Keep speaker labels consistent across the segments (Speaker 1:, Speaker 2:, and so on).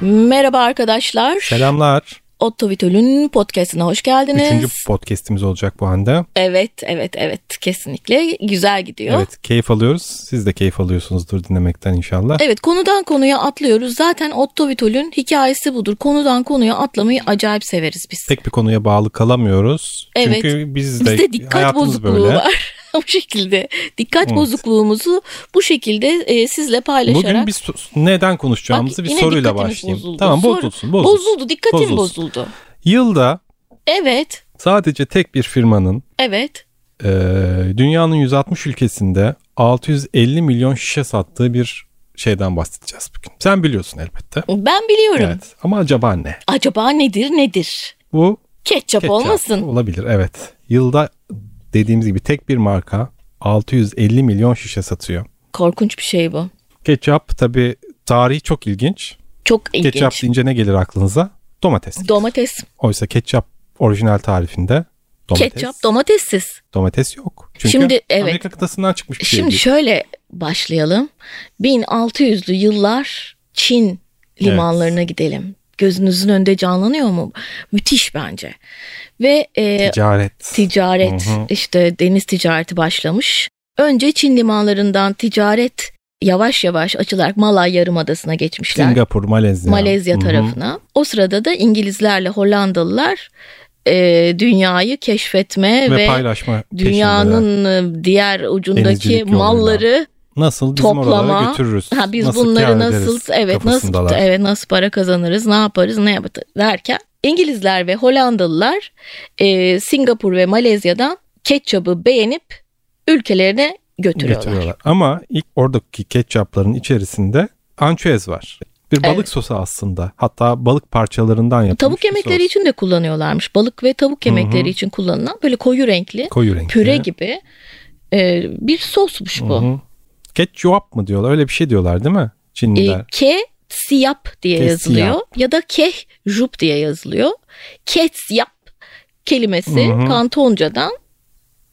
Speaker 1: Merhaba arkadaşlar.
Speaker 2: Selamlar.
Speaker 1: Otto Vitol'ün podcastına hoş geldiniz.
Speaker 2: Üçüncü podcastimiz olacak bu anda.
Speaker 1: Evet, evet, evet. Kesinlikle güzel gidiyor. Evet.
Speaker 2: Evet keyif alıyoruz. Siz de keyif alıyorsunuzdur dinlemekten inşallah.
Speaker 1: konudan konuya atlıyoruz. Zaten Otto Vitol'ün hikayesi budur. Konudan konuya atlamayı acayip severiz biz.
Speaker 2: Tek bir konuya bağlı kalamıyoruz.
Speaker 1: Evet.
Speaker 2: Çünkü biz de
Speaker 1: Bizde dikkat
Speaker 2: hayatımız
Speaker 1: bozukluğu
Speaker 2: böyle.
Speaker 1: var. bu şekilde dikkat
Speaker 2: Evet.
Speaker 1: bozukluğumuzu bu şekilde e, sizle paylaşarak
Speaker 2: Bugün biz so- neden konuşacağımızı
Speaker 1: Bak,
Speaker 2: bir
Speaker 1: yine
Speaker 2: soruyla
Speaker 1: dikkatimiz
Speaker 2: başlayayım.
Speaker 1: bozuldu.
Speaker 2: Tamam
Speaker 1: Soru-
Speaker 2: bozulsun, bozulsun.
Speaker 1: bozuldu dikkatim
Speaker 2: Bozulsun.
Speaker 1: bozuldu.
Speaker 2: Yılda
Speaker 1: Evet,
Speaker 2: sadece tek bir firmanın
Speaker 1: evet.
Speaker 2: e, dünyanın 160 ülkesinde 650 milyon şişe sattığı bir şeyden bahsedeceğiz bugün. Sen biliyorsun elbette.
Speaker 1: Ben biliyorum.
Speaker 2: Evet. Ama acaba ne?
Speaker 1: Acaba nedir nedir?
Speaker 2: Bu
Speaker 1: Ketçap,
Speaker 2: Ketçap
Speaker 1: olmasın.
Speaker 2: Olabilir evet. Yılda dediğimiz gibi tek bir marka 650 milyon şişe satıyor.
Speaker 1: Korkunç bir şey bu.
Speaker 2: Ketçap tabi tarihi çok ilginç.
Speaker 1: Çok ilginç.
Speaker 2: Ketçap deyince ne gelir aklınıza? Domates.
Speaker 1: Domates.
Speaker 2: Oysa ketçap orijinal tarifinde domates,
Speaker 1: Ketçap domatessiz.
Speaker 2: domates yok. Çünkü
Speaker 1: Şimdi, evet.
Speaker 2: Amerika kıtasından çıkmış bir şey.
Speaker 1: Şimdi
Speaker 2: değil.
Speaker 1: şöyle başlayalım. 1600'lü yıllar Çin limanlarına gidelim. Gözünüzün önünde canlanıyor mu? Müthiş bence. Ve e,
Speaker 2: Ticaret.
Speaker 1: ticaret
Speaker 2: Hı hı.
Speaker 1: işte deniz ticareti başlamış. Önce Çin limanlarından ticaret yavaş yavaş açılarak Malay Yarımadası'na geçmişler.
Speaker 2: Singapur, Malezya.
Speaker 1: Malezya
Speaker 2: Hı hı.
Speaker 1: tarafına. O sırada da İngilizlerle Hollandalılar e, dünyayı keşfetme
Speaker 2: Ve,
Speaker 1: ve
Speaker 2: paylaşma dünyanın
Speaker 1: dünyanın e, diğer ucundaki
Speaker 2: Denizcilik yoluyla.
Speaker 1: malları
Speaker 2: nasıl bizim oralara
Speaker 1: toplama-
Speaker 2: götürürüz?
Speaker 1: ha biz
Speaker 2: nasıl
Speaker 1: bunları
Speaker 2: kâr
Speaker 1: nasıl
Speaker 2: ederiz
Speaker 1: evet nasıl
Speaker 2: kafasındalar.
Speaker 1: evet nasıl para kazanırız ne yaparız ne yaparız derken İngilizler ve Hollandalılar e, Singapur ve Malezya'dan ketçabı beğenip ülkelerine götürüyorlar.
Speaker 2: götürüyorlar. Ama ilk oradaki ketçapların içerisinde ançuez var. Bir balık
Speaker 1: Evet.
Speaker 2: sosu aslında. Hatta balık parçalarından yapılmış
Speaker 1: Tavuk
Speaker 2: bir
Speaker 1: yemekleri
Speaker 2: sos.
Speaker 1: için de kullanıyorlarmış. Balık ve tavuk yemekleri
Speaker 2: hı.
Speaker 1: için kullanılan böyle koyu renkli
Speaker 2: koyu renkli.
Speaker 1: püre gibi e, bir sosmuş bu.
Speaker 2: Hı hı. Ketçuap mı diyorlar? Öyle bir şey diyorlar değil mi? Çinliler.
Speaker 1: E, ke siyap diye
Speaker 2: Ke
Speaker 1: yazılıyor
Speaker 2: siyap.
Speaker 1: ya da keh jup diye yazılıyor. Ketsiyap kelimesi
Speaker 2: Hı hı.
Speaker 1: Kantoncadan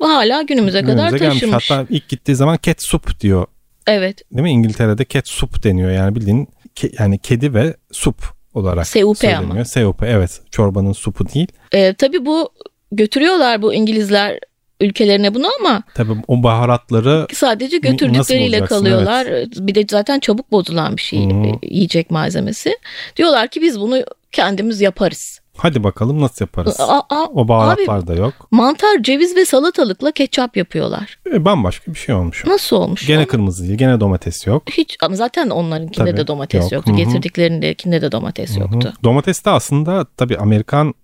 Speaker 1: hala günümüze kadar
Speaker 2: Günümüze gelmiş.
Speaker 1: taşınmış.
Speaker 2: Hatta ilk gittiği zaman cat soup diyor.
Speaker 1: Evet.
Speaker 2: Değil mi? İngiltere'de cat soup deniyor. Yani bildiğin ke- yani kedi ve sup olarak
Speaker 1: SUP ama.
Speaker 2: söyleniyor. SUP evet. Çorbanın supu değil.
Speaker 1: E, tabii bu götürüyorlar bu İngilizler ülkelerine bunu ama
Speaker 2: Tabii o baharatları
Speaker 1: sadece
Speaker 2: N- nasıl
Speaker 1: götürdükleriyle
Speaker 2: bulacaksın,
Speaker 1: kalıyorlar. E, Bir de zaten çabuk bozulan bir şey
Speaker 2: Hı hı.
Speaker 1: yiyecek malzemesi. Diyorlar ki biz bunu kendimiz yaparız.
Speaker 2: hadi bakalım nasıl yaparız?
Speaker 1: Aa, aa,
Speaker 2: O baharatlar da yok.
Speaker 1: mantar, ceviz ve salatalıkla ketçap yapıyorlar.
Speaker 2: E, bambaşka bir şey olmuş.
Speaker 1: Nasıl olmuş?
Speaker 2: Gene kırmızı değil, gene domates yok.
Speaker 1: Hiç ama zaten onlarınkinde
Speaker 2: Tabii,
Speaker 1: de domates
Speaker 2: yok.
Speaker 1: yoktu.
Speaker 2: Hı hı.
Speaker 1: Getirdiklerindekinde de domates yoktu.
Speaker 2: Hı hı. Domates de aslında tabii Amerikan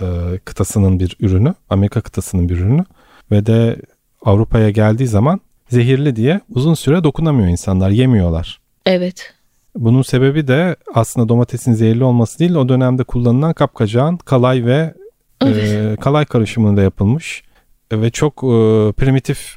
Speaker 2: e, kıtasının bir ürünü, Amerika kıtasının bir ürünü ve de Avrupa'ya geldiği zaman zehirli diye uzun süre dokunamıyor insanlar, yemiyorlar.
Speaker 1: Evet.
Speaker 2: Bunun sebebi de aslında domatesin zehirli olması değil, o dönemde kullanılan kapkacağın kalay ve e, kalay karışımıyla yapılmış ve çok e, primitif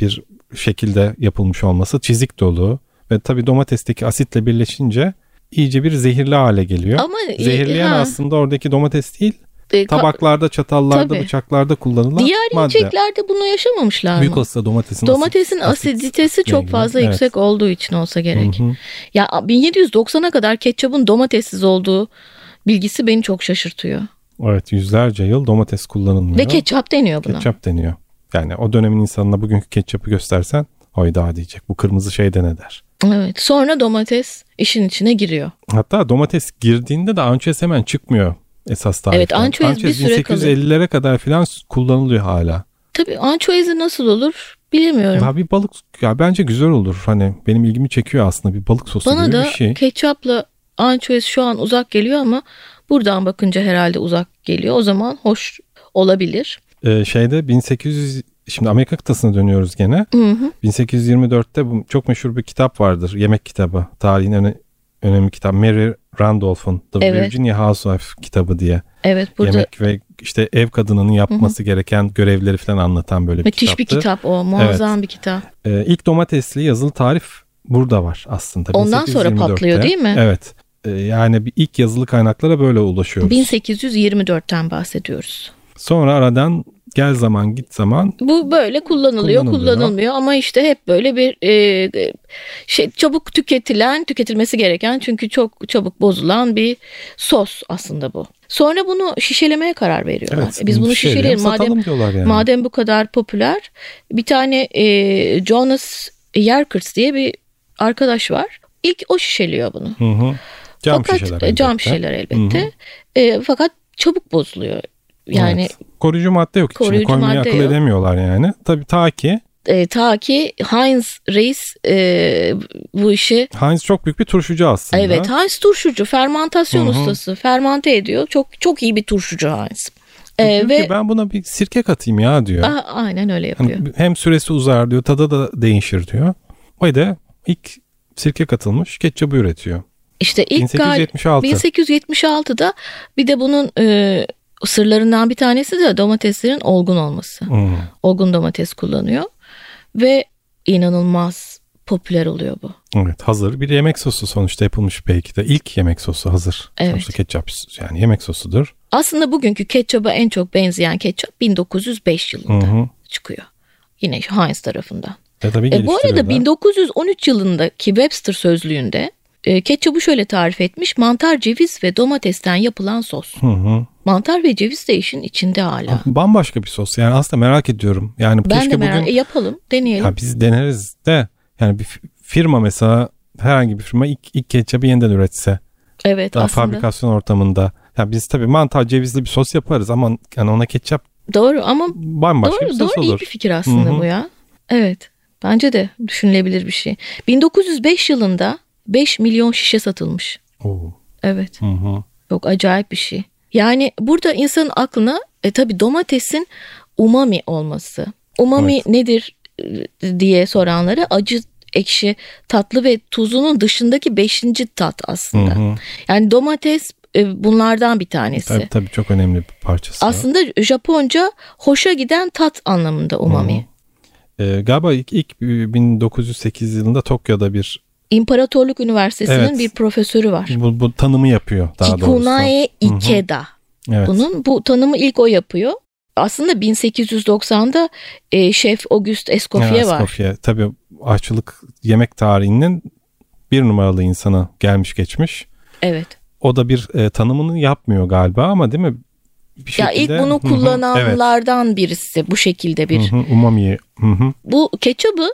Speaker 2: bir şekilde yapılmış olması, çizik dolu ve tabii domatesteki asitle birleşince iyice bir zehirli hale geliyor.
Speaker 1: Ama e,
Speaker 2: Zehirleyen
Speaker 1: ha,
Speaker 2: aslında oradaki domates değil.
Speaker 1: e, ka-
Speaker 2: Tabaklarda, çatallarda,
Speaker 1: Tabii.
Speaker 2: bıçaklarda kullanılan
Speaker 1: Diğer
Speaker 2: madde.
Speaker 1: yiyeceklerde bunu yaşamamışlar
Speaker 2: Büyük
Speaker 1: mı?
Speaker 2: olsa domatesin
Speaker 1: Domatesin
Speaker 2: asit-
Speaker 1: asiditesi
Speaker 2: asitle
Speaker 1: çok
Speaker 2: ilgili.
Speaker 1: fazla
Speaker 2: Evet.
Speaker 1: yüksek olduğu için olsa gerek.
Speaker 2: Hı hı.
Speaker 1: Ya 1790'a kadar ketçapın domatessiz olduğu bilgisi beni çok şaşırtıyor.
Speaker 2: Evet yüzlerce yıl domates kullanılmıyor.
Speaker 1: Ve ketçap deniyor buna.
Speaker 2: Ketçap deniyor. Yani o dönemin insanına bugünkü ketçapı göstersen hayda diyecek bu kırmızı şey de ne der.
Speaker 1: Evet. Sonra domates işin içine giriyor.
Speaker 2: Hatta domates girdiğinde de ançez hemen çıkmıyor esas tariften.
Speaker 1: Evet, ançez bir süre kalıyor.
Speaker 2: 1850'lere kadar filan kullanılıyor hala.
Speaker 1: Tabii ançoezi nasıl olur bilemiyorum.
Speaker 2: Ya bir balık ya bence güzel olur. Hani benim ilgimi çekiyor aslında bir balık sosu
Speaker 1: Bana
Speaker 2: gibi
Speaker 1: da
Speaker 2: bir şey.
Speaker 1: ketçapla ançovis şu an uzak geliyor ama buradan bakınca herhalde uzak geliyor. O zaman hoş olabilir.
Speaker 2: Ee, şeyde 1800 şimdi Amerika kıtasına dönüyoruz gene.
Speaker 1: Hı hı.
Speaker 2: 1824'te bu çok meşhur bir kitap vardır. Yemek kitabı. Tarihin öne- önemli kitap. Mary Randolph'un The
Speaker 1: Evet.
Speaker 2: Virginia Housewife kitabı diye.
Speaker 1: Evet burada
Speaker 2: Yemek ve işte ev kadınının yapması gereken görevleri falan anlatan böyle bir
Speaker 1: müthiş
Speaker 2: kitaptı.
Speaker 1: bir kitap o. Muazzam bir kitap.
Speaker 2: Ee, ilk domatesli yazılı tarif burada var aslında.
Speaker 1: Ondan sonra
Speaker 2: 1824'te.
Speaker 1: patlıyor değil mi?
Speaker 2: Evet. Ee, yani bir ilk yazılı kaynaklara böyle ulaşıyoruz.
Speaker 1: 1824'ten bahsediyoruz.
Speaker 2: Sonra aradan Gel zaman git zaman.
Speaker 1: Bu böyle kullanılıyor, kullanılmıyor,
Speaker 2: Kullanılıyor.
Speaker 1: ama işte hep böyle bir e, e, şey çabuk tüketilen, tüketilmesi gereken çünkü çok çabuk bozulan bir sos aslında bu. Sonra bunu şişelemeye karar veriyorlar.
Speaker 2: Evet,
Speaker 1: Biz bunu
Speaker 2: şişeleyelim,
Speaker 1: şişeleyelim madem
Speaker 2: satalım diyorlar yani.
Speaker 1: madem bu kadar popüler. Bir tane e, Jonas Yerkes diye bir arkadaş var. İlk o şişeliyor bunu.
Speaker 2: Hı hı. Cam
Speaker 1: fakat
Speaker 2: şişeler.
Speaker 1: e, cam
Speaker 2: elbette.
Speaker 1: şişeler elbette. E, fakat çabuk bozuluyor. Yani
Speaker 2: Evet. koruyucu madde yok içinde.
Speaker 1: Koruyucu
Speaker 2: Koymayı
Speaker 1: madde
Speaker 2: akıl
Speaker 1: yok.
Speaker 2: edemiyorlar yani. Tabii ta ki
Speaker 1: e, ta ki Heinz Reis e, bu işi
Speaker 2: Heinz çok büyük bir turşucu aslında.
Speaker 1: evet Heinz turşucu, fermantasyon
Speaker 2: Hı hı.
Speaker 1: ustası, fermante ediyor. Çok çok iyi bir turşucu Heinz. E,
Speaker 2: Diyor
Speaker 1: ve
Speaker 2: ki ben buna bir sirke katayım ya diyor.
Speaker 1: Aha, aynen öyle
Speaker 2: Hani
Speaker 1: yapıyor.
Speaker 2: hem süresi uzar diyor, tadı da değişir diyor. Ve de ilk sirke katılmış ketçabı üretiyor.
Speaker 1: İşte ilk gal-
Speaker 2: 1876.
Speaker 1: 1876'da bir de bunun e, sırlarından bir tanesi de domateslerin olgun olması.
Speaker 2: Hmm.
Speaker 1: Olgun domates kullanıyor ve inanılmaz popüler oluyor bu.
Speaker 2: Evet hazır bir yemek sosu sonuçta yapılmış belki de. ilk yemek sosu hazır.
Speaker 1: Evet.
Speaker 2: Sonuçta ketçap yani yemek sosudur.
Speaker 1: Aslında bugünkü ketçaba en çok benzeyen ketçap 1905
Speaker 2: Hı
Speaker 1: yılında
Speaker 2: hı.
Speaker 1: çıkıyor. Yine şu Heinz tarafından.
Speaker 2: E tabii
Speaker 1: E, bu arada
Speaker 2: geliştiriyorlar.
Speaker 1: 1913 yılındaki Webster sözlüğünde e, ketçabı şöyle tarif etmiş. Mantar, ceviz ve domatesten yapılan sos.
Speaker 2: Hı hı.
Speaker 1: Mantar ve ceviz de işin içinde hala.
Speaker 2: Bambaşka bir sos. Yani aslında merak ediyorum. Yani
Speaker 1: Ben
Speaker 2: Ah, keşke
Speaker 1: de merak
Speaker 2: bugün
Speaker 1: e, yapalım, deneyelim.
Speaker 2: Ya biz deneriz de yani bir fi- firma mesela herhangi bir firma ilk, ilk ketçabı yeniden üretse.
Speaker 1: evet
Speaker 2: Daha
Speaker 1: aslında.
Speaker 2: fabrikasyon ortamında. Ya biz tabii mantar cevizli bir sos yaparız ama yani ona ketçap
Speaker 1: Doğru ama
Speaker 2: bambaşka bir
Speaker 1: doğru
Speaker 2: sos
Speaker 1: doğru iyi
Speaker 2: olur.
Speaker 1: bir fikir aslında
Speaker 2: Hı hı.
Speaker 1: bu ya. Evet. Bence de düşünülebilir bir şey. 1905 yılında 5 milyon şişe satılmış.
Speaker 2: Oo,
Speaker 1: Evet.
Speaker 2: hı hı.
Speaker 1: Çok acayip bir şey. Yani burada insanın aklına e, tabii domatesin umami olması. Umami
Speaker 2: Evet.
Speaker 1: nedir e, diye soranlara acı, ekşi, tatlı ve tuzunun dışındaki beşinci tat
Speaker 2: Hı
Speaker 1: aslında.
Speaker 2: hı.
Speaker 1: Yani domates e, bunlardan bir tanesi.
Speaker 2: Tabii tabii çok önemli bir parçası.
Speaker 1: Aslında Japonca hoşa giden tat anlamında umami.
Speaker 2: Ee, galiba ilk, ilk 1908 yılında Tokyo'da bir
Speaker 1: İmparatorluk Üniversitesi'nin
Speaker 2: Evet.
Speaker 1: bir profesörü var.
Speaker 2: bu, bu tanımı yapıyor daha doğrusu.
Speaker 1: Kikunae
Speaker 2: Hı hı.
Speaker 1: Ikeda.
Speaker 2: Evet.
Speaker 1: Bunun bu tanımı ilk o yapıyor. Aslında 1890'da e, şef Auguste Escoffier
Speaker 2: Evet,
Speaker 1: var.
Speaker 2: Skopje. Tabii aşçılık yemek tarihinin bir numaralı insana gelmiş geçmiş.
Speaker 1: Evet.
Speaker 2: O da bir e, tanımını yapmıyor galiba ama değil mi? Bir
Speaker 1: Ya ilk
Speaker 2: şekilde- Hı
Speaker 1: bunu
Speaker 2: hı,
Speaker 1: kullananlardan birisi bu şekilde bir.
Speaker 2: evet. Hı hı, umami. Hı hı.
Speaker 1: Bu ketçabı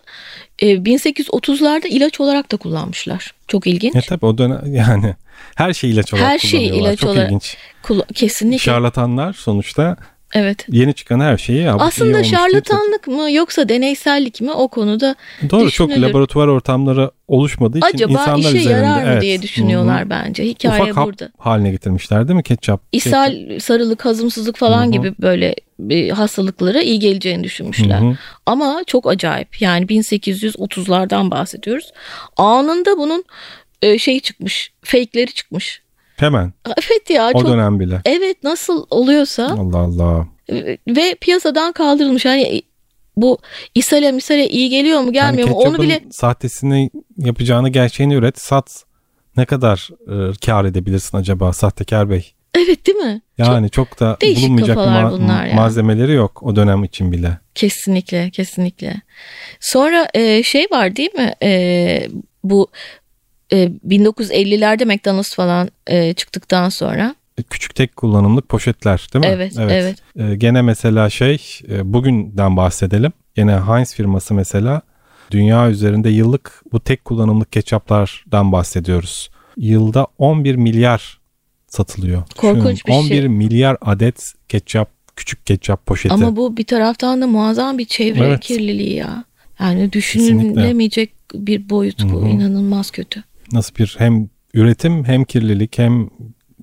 Speaker 1: e, 1830'larda ilaç olarak da kullanmışlar. Çok ilginç.
Speaker 2: E tabii o dönem yani her şey ilaç olarak
Speaker 1: Her şeyi
Speaker 2: kullanıyorlar.
Speaker 1: ilaç
Speaker 2: Çok
Speaker 1: olarak-
Speaker 2: ilginç.
Speaker 1: Kula- Kesinlikle.
Speaker 2: Şarlatanlar sonuçta
Speaker 1: evet.
Speaker 2: yeni çıkan her şeyi ya, bu iyi
Speaker 1: Aslında
Speaker 2: olmuş diye çok-
Speaker 1: şarlatanlık mı yoksa deneysellik mi o konuda
Speaker 2: Doğru çok
Speaker 1: düşünülür.
Speaker 2: laboratuvar ortamları oluşmadığı için
Speaker 1: acaba
Speaker 2: insanlar
Speaker 1: işe
Speaker 2: üzerinde
Speaker 1: yarar mı
Speaker 2: evet.
Speaker 1: diye
Speaker 2: Hı
Speaker 1: düşünüyorlar
Speaker 2: hı.
Speaker 1: bence. Hikaye
Speaker 2: Ufak hap
Speaker 1: burada.
Speaker 2: haline getirmişler değil mi ketçap?
Speaker 1: İshal, sarılık, hazımsızlık falan
Speaker 2: Hı hı.
Speaker 1: gibi böyle bir hastalıklara iyi geleceğini düşünmüşler.
Speaker 2: Hı hı.
Speaker 1: Ama çok acayip. Yani 1830'lardan bahsediyoruz. Anında bunun e, şey çıkmış, fake'leri çıkmış.
Speaker 2: Hemen
Speaker 1: Evet ya
Speaker 2: o
Speaker 1: çok
Speaker 2: dönem bile.
Speaker 1: evet nasıl oluyorsa
Speaker 2: Allah Allah.
Speaker 1: e, ve piyasadan kaldırılmış. Hani e, bu ishale misale iyi geliyor mu gelmiyor
Speaker 2: Yani
Speaker 1: mu onu
Speaker 2: ketçapın
Speaker 1: bile
Speaker 2: sahtesini yapacağını gerçeğini üret sat. Ne kadar e, kar edebilirsin acaba sahtekar bey?
Speaker 1: evet değil mi?
Speaker 2: Yani çok, da
Speaker 1: değişik
Speaker 2: bulunmayacak bir
Speaker 1: kafalar
Speaker 2: ma-
Speaker 1: bunlar ya.
Speaker 2: malzemeleri yok o dönem için bile.
Speaker 1: Kesinlikle, kesinlikle. Sonra e, şey var değil mi? E, bu e, 1950'lerde McDonald's falan e, çıktıktan sonra.
Speaker 2: Küçük tek kullanımlık poşetler değil mi?
Speaker 1: Evet, evet.
Speaker 2: E, gene mesela şey e, bugünden bahsedelim. Gene Heinz firması mesela dünya üzerinde yıllık bu tek kullanımlık ketçaplardan bahsediyoruz. Yılda 11 milyar satılıyor.
Speaker 1: Korkunç bir şey.
Speaker 2: 11 milyar adet ketçap küçük ketçap poşeti.
Speaker 1: Ama bu bir taraftan da muazzam bir çevre
Speaker 2: E, Evet.
Speaker 1: kirliliği ya. Yani düşünülemeyecek bir boyut bu.
Speaker 2: Hı hı.
Speaker 1: İnanılmaz kötü.
Speaker 2: Nasıl bir hem üretim hem kirlilik hem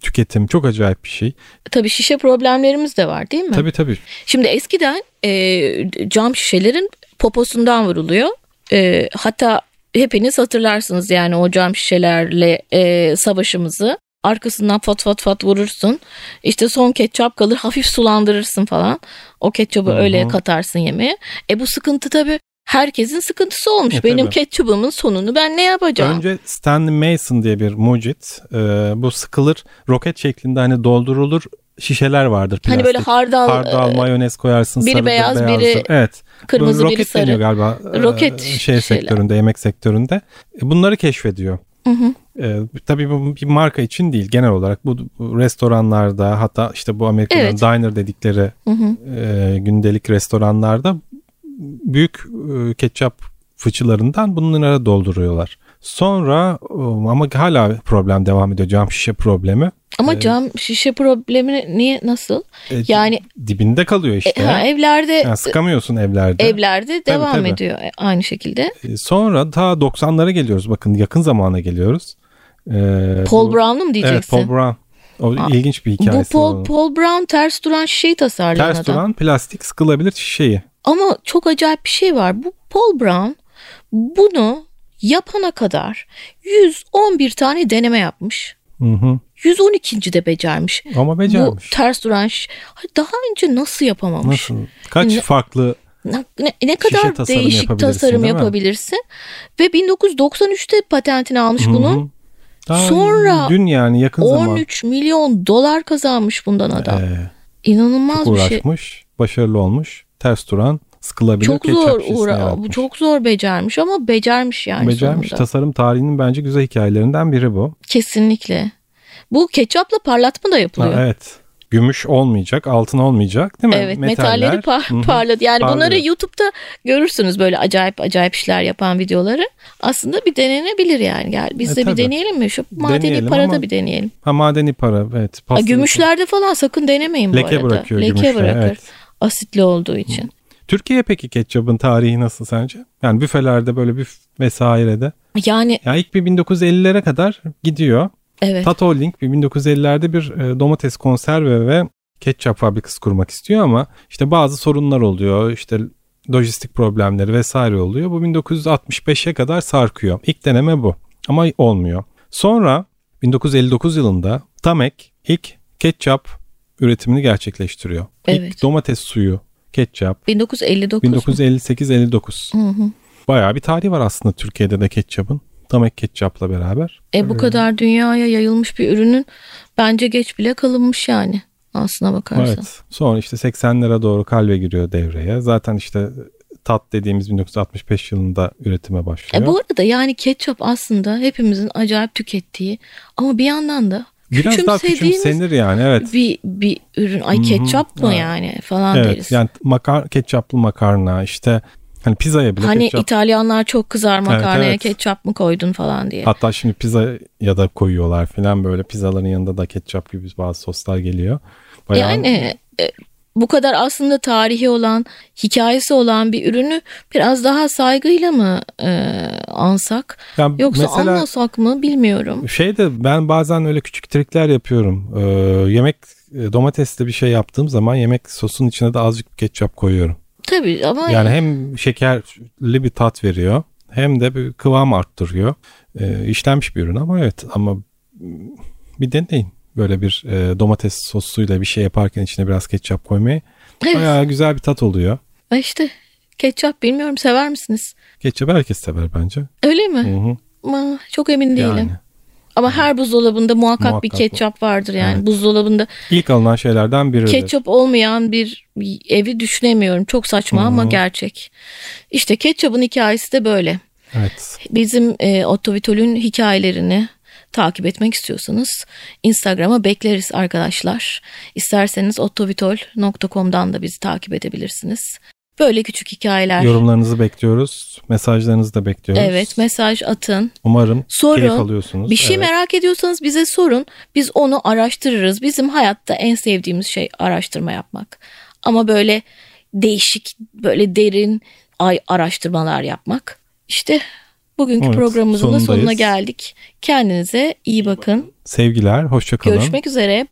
Speaker 2: tüketim çok acayip bir şey.
Speaker 1: Tabii şişe problemlerimiz de var değil mi?
Speaker 2: Tabii tabii.
Speaker 1: Şimdi eskiden e, cam şişelerin poposundan vuruluyor. E, hatta hepiniz hatırlarsınız yani o cam şişelerle e, savaşımızı. Arkasından fat fat fat vurursun. İşte son ketçap kalır hafif sulandırırsın falan. O ketçabı
Speaker 2: Hı hı.
Speaker 1: öyle katarsın yemeğe. E bu sıkıntı tabii herkesin sıkıntısı olmuş.
Speaker 2: E,
Speaker 1: Benim
Speaker 2: tabii.
Speaker 1: ketçabımın sonunu ben ne yapacağım?
Speaker 2: Önce e, Stanley Mason diye bir mucit. Ee, bu sıkılır roket şeklinde hani doldurulur şişeler vardır. Plastik.
Speaker 1: Hani böyle hardal,
Speaker 2: Hardal, mayonez koyarsın.
Speaker 1: biri
Speaker 2: sarıdır,
Speaker 1: beyaz, biri
Speaker 2: beyazdır. evet.
Speaker 1: kırmızı
Speaker 2: Böyle
Speaker 1: biri
Speaker 2: roket deniyor
Speaker 1: sarı.
Speaker 2: galiba. e,
Speaker 1: Roket
Speaker 2: şey
Speaker 1: şeyler.
Speaker 2: sektöründe, yemek sektöründe. E, Bunları keşfediyor.
Speaker 1: Hı hı.
Speaker 2: E, tabii bu bir marka için değil genel olarak bu, bu restoranlarda hatta işte bu Amerika'da
Speaker 1: Evet.
Speaker 2: diner dedikleri
Speaker 1: Hı hı.
Speaker 2: e, gündelik restoranlarda büyük e, ketçap fıçılarından bunlara dolduruyorlar. Sonra e, ama hala problem devam ediyor cam şişe problemi.
Speaker 1: Ama
Speaker 2: Evet.
Speaker 1: cam şişe problemi niye nasıl?
Speaker 2: E,
Speaker 1: Yani
Speaker 2: dibinde kalıyor
Speaker 1: e,
Speaker 2: işte.
Speaker 1: ha, evlerde
Speaker 2: Yani sıkamıyorsun evlerde.
Speaker 1: evlerde devam
Speaker 2: tabii.
Speaker 1: ediyor e, aynı şekilde.
Speaker 2: E, Sonra ta 90'lara geliyoruz. Bakın yakın zamana geliyoruz. E,
Speaker 1: Paul
Speaker 2: bu-
Speaker 1: Brown'lu mu
Speaker 2: Evet
Speaker 1: diyeceksin?
Speaker 2: Paul Brown. O
Speaker 1: Aa,
Speaker 2: ilginç bir
Speaker 1: bu
Speaker 2: hikayesi. var onun.
Speaker 1: Paul, Paul Brown ters duran şişeyi tasarlayan
Speaker 2: Ters
Speaker 1: adam.
Speaker 2: duran plastik sıkılabilir şişeyi.
Speaker 1: Ama çok acayip bir şey var. Bu Paul Brown bunu yapana kadar 111 tane deneme yapmış.
Speaker 2: Hı hı.
Speaker 1: 112. de becermiş.
Speaker 2: Ama becermiş.
Speaker 1: Bu ters duran şiş- Hayır, daha önce nasıl yapamamış?
Speaker 2: Nasıl? Kaç
Speaker 1: Ne-
Speaker 2: farklı
Speaker 1: Ne, ne- ne
Speaker 2: Şişe
Speaker 1: kadar
Speaker 2: tasarımı
Speaker 1: değişik
Speaker 2: yapabilirsin,
Speaker 1: tasarım
Speaker 2: değil mi?
Speaker 1: yapabilirsin? Ve 1993'te patentini almış
Speaker 2: Hı hı.
Speaker 1: bunun.
Speaker 2: Daha
Speaker 1: Sonra
Speaker 2: dün yani yakın zaman
Speaker 1: 13 milyon dolar kazanmış bundan adam.
Speaker 2: Ee,
Speaker 1: İnanılmaz bir şey.
Speaker 2: uğraşmış, başarılı olmuş, ters duran, sıkılabilir
Speaker 1: Çok
Speaker 2: ketçap
Speaker 1: zor
Speaker 2: şişesini
Speaker 1: uğra bu
Speaker 2: yaratmış.
Speaker 1: çok zor becermiş ama becermiş yani
Speaker 2: Becermiş
Speaker 1: sonunda.
Speaker 2: tasarım tarihinin bence güzel hikayelerinden biri bu.
Speaker 1: Kesinlikle. Bu ketçapla parlatma da
Speaker 2: Ha,
Speaker 1: yapılıyor. evet.
Speaker 2: evet. Gümüş olmayacak, altın olmayacak değil mi?
Speaker 1: metalleri par-
Speaker 2: Hı hı.
Speaker 1: parlat. Yani
Speaker 2: parlıyor.
Speaker 1: bunları YouTube'da görürsünüz böyle acayip acayip işler yapan videoları. Aslında bir denenebilir yani. Gel biz
Speaker 2: E,
Speaker 1: de
Speaker 2: tabii.
Speaker 1: bir deneyelim mi? Şu madeni
Speaker 2: Deneyelim
Speaker 1: parada
Speaker 2: ama
Speaker 1: bir deneyelim.
Speaker 2: Ha madeni para evet.
Speaker 1: Aa,
Speaker 2: Pasta-
Speaker 1: gümüşlerde falan sakın denemeyin bu
Speaker 2: Leke
Speaker 1: arada.
Speaker 2: bırakıyor
Speaker 1: Leke
Speaker 2: gümüşler,
Speaker 1: bırakır.
Speaker 2: evet.
Speaker 1: Asitli olduğu için.
Speaker 2: Türkiye peki ketçapın tarihi nasıl sence? Yani büfelerde böyle büf vesairede.
Speaker 1: Yani
Speaker 2: Ya ilk bir 1950'lere kadar gidiyor.
Speaker 1: evet.
Speaker 2: Tato Holding bir 1950'lerde bir e, domates konserve ve ketçap fabrikası kurmak istiyor ama işte bazı sorunlar oluyor. İşte lojistik problemleri vesaire oluyor. Bu 1965'e kadar sarkıyor. İlk deneme bu ama olmuyor. Sonra 1959 yılında Tamek ilk ketçap üretimini gerçekleştiriyor. İlk
Speaker 1: Evet.
Speaker 2: domates suyu, ketçap
Speaker 1: 1959.
Speaker 2: 1958-59.
Speaker 1: Hı hı.
Speaker 2: Bayağı bir tarihi var aslında Türkiye'de de ketçapın. Tamek ketçapla beraber.
Speaker 1: E bu kadar dünyaya yayılmış bir ürünün bence geç bile kalınmış yani aslına bakarsan.
Speaker 2: Evet. Sonra işte 80'lere doğru kalve giriyor devreye. Zaten işte tat dediğimiz 1965 yılında üretime başlıyor.
Speaker 1: E bu arada yani ketçap aslında hepimizin acayip tükettiği ama bir yandan da
Speaker 2: Biraz daha
Speaker 1: küçümsediğimiz
Speaker 2: küçümsenir yani evet.
Speaker 1: bir bir ürün. Ay
Speaker 2: Hı hı.
Speaker 1: ketçap mı
Speaker 2: Evet.
Speaker 1: yani falan
Speaker 2: Evet
Speaker 1: deriz.
Speaker 2: yani makar, ketçaplı makarna işte hani pizzaya bile
Speaker 1: hani
Speaker 2: ketçap.
Speaker 1: İtalyanlar çok kızar makarnaya
Speaker 2: evet.
Speaker 1: ketçap mı koydun falan diye.
Speaker 2: Hatta şimdi pizza ya da koyuyorlar falan böyle pizzaların yanında da ketçap gibi bazı soslar geliyor. Bayağı
Speaker 1: Yani e, bu kadar aslında tarihi olan, hikayesi olan bir ürünü biraz daha saygıyla mı e, ansak?
Speaker 2: Yani
Speaker 1: Yoksa
Speaker 2: mesela-
Speaker 1: anmasak mı bilmiyorum.
Speaker 2: Şey de ben bazen öyle küçük trikler yapıyorum. Ee, yemek e, domatesli bir şey yaptığım zaman yemek sosun içine de azıcık ketçap koyuyorum.
Speaker 1: Tabii ama
Speaker 2: Yani hem şekerli bir tat veriyor hem de bir kıvam arttırıyor. Ee, işlenmiş bir ürün ama evet ama mm, bir deneyin. Böyle bir e, domates sosuyla bir şey yaparken içine biraz ketçap koymayı.
Speaker 1: Evet.
Speaker 2: Bayağı güzel bir tat oluyor.
Speaker 1: E işte ketçap bilmiyorum sever misiniz?
Speaker 2: Ketçap herkes sever bence.
Speaker 1: Öyle mi?
Speaker 2: Hı hı.
Speaker 1: Ama çok emin değilim.
Speaker 2: Yani
Speaker 1: Ama her buzdolabında muhakkak,
Speaker 2: Muhakkak
Speaker 1: bir ketçap vardır yani.
Speaker 2: Evet.
Speaker 1: Buzdolabında
Speaker 2: ilk alınan şeylerden biridir.
Speaker 1: ketçap olmayan bir evi düşünemiyorum. Çok saçma ama
Speaker 2: Hı.
Speaker 1: gerçek. İşte ketçapın hikayesi de böyle.
Speaker 2: Evet.
Speaker 1: Bizim e, Ottovitol'ün hikayelerini takip etmek istiyorsanız Instagram'a bekleriz arkadaşlar. İsterseniz ottovitol.com'dan da bizi takip edebilirsiniz. Böyle küçük hikayeler.
Speaker 2: Yorumlarınızı bekliyoruz. Mesajlarınızı da bekliyoruz.
Speaker 1: Evet mesaj atın.
Speaker 2: Umarım keyif
Speaker 1: Sorun.
Speaker 2: alıyorsunuz.
Speaker 1: Bir şey
Speaker 2: Evet.
Speaker 1: merak ediyorsanız bize sorun. Biz onu araştırırız. Bizim hayatta en sevdiğimiz şey araştırma yapmak. Ama böyle değişik, böyle derin ay araştırmalar yapmak. İşte bugünkü
Speaker 2: Evet,
Speaker 1: programımızın da
Speaker 2: sonundayız.
Speaker 1: sonuna geldik. Kendinize iyi bakın.
Speaker 2: Sevgiler, hoşçakalın.
Speaker 1: Görüşmek üzere.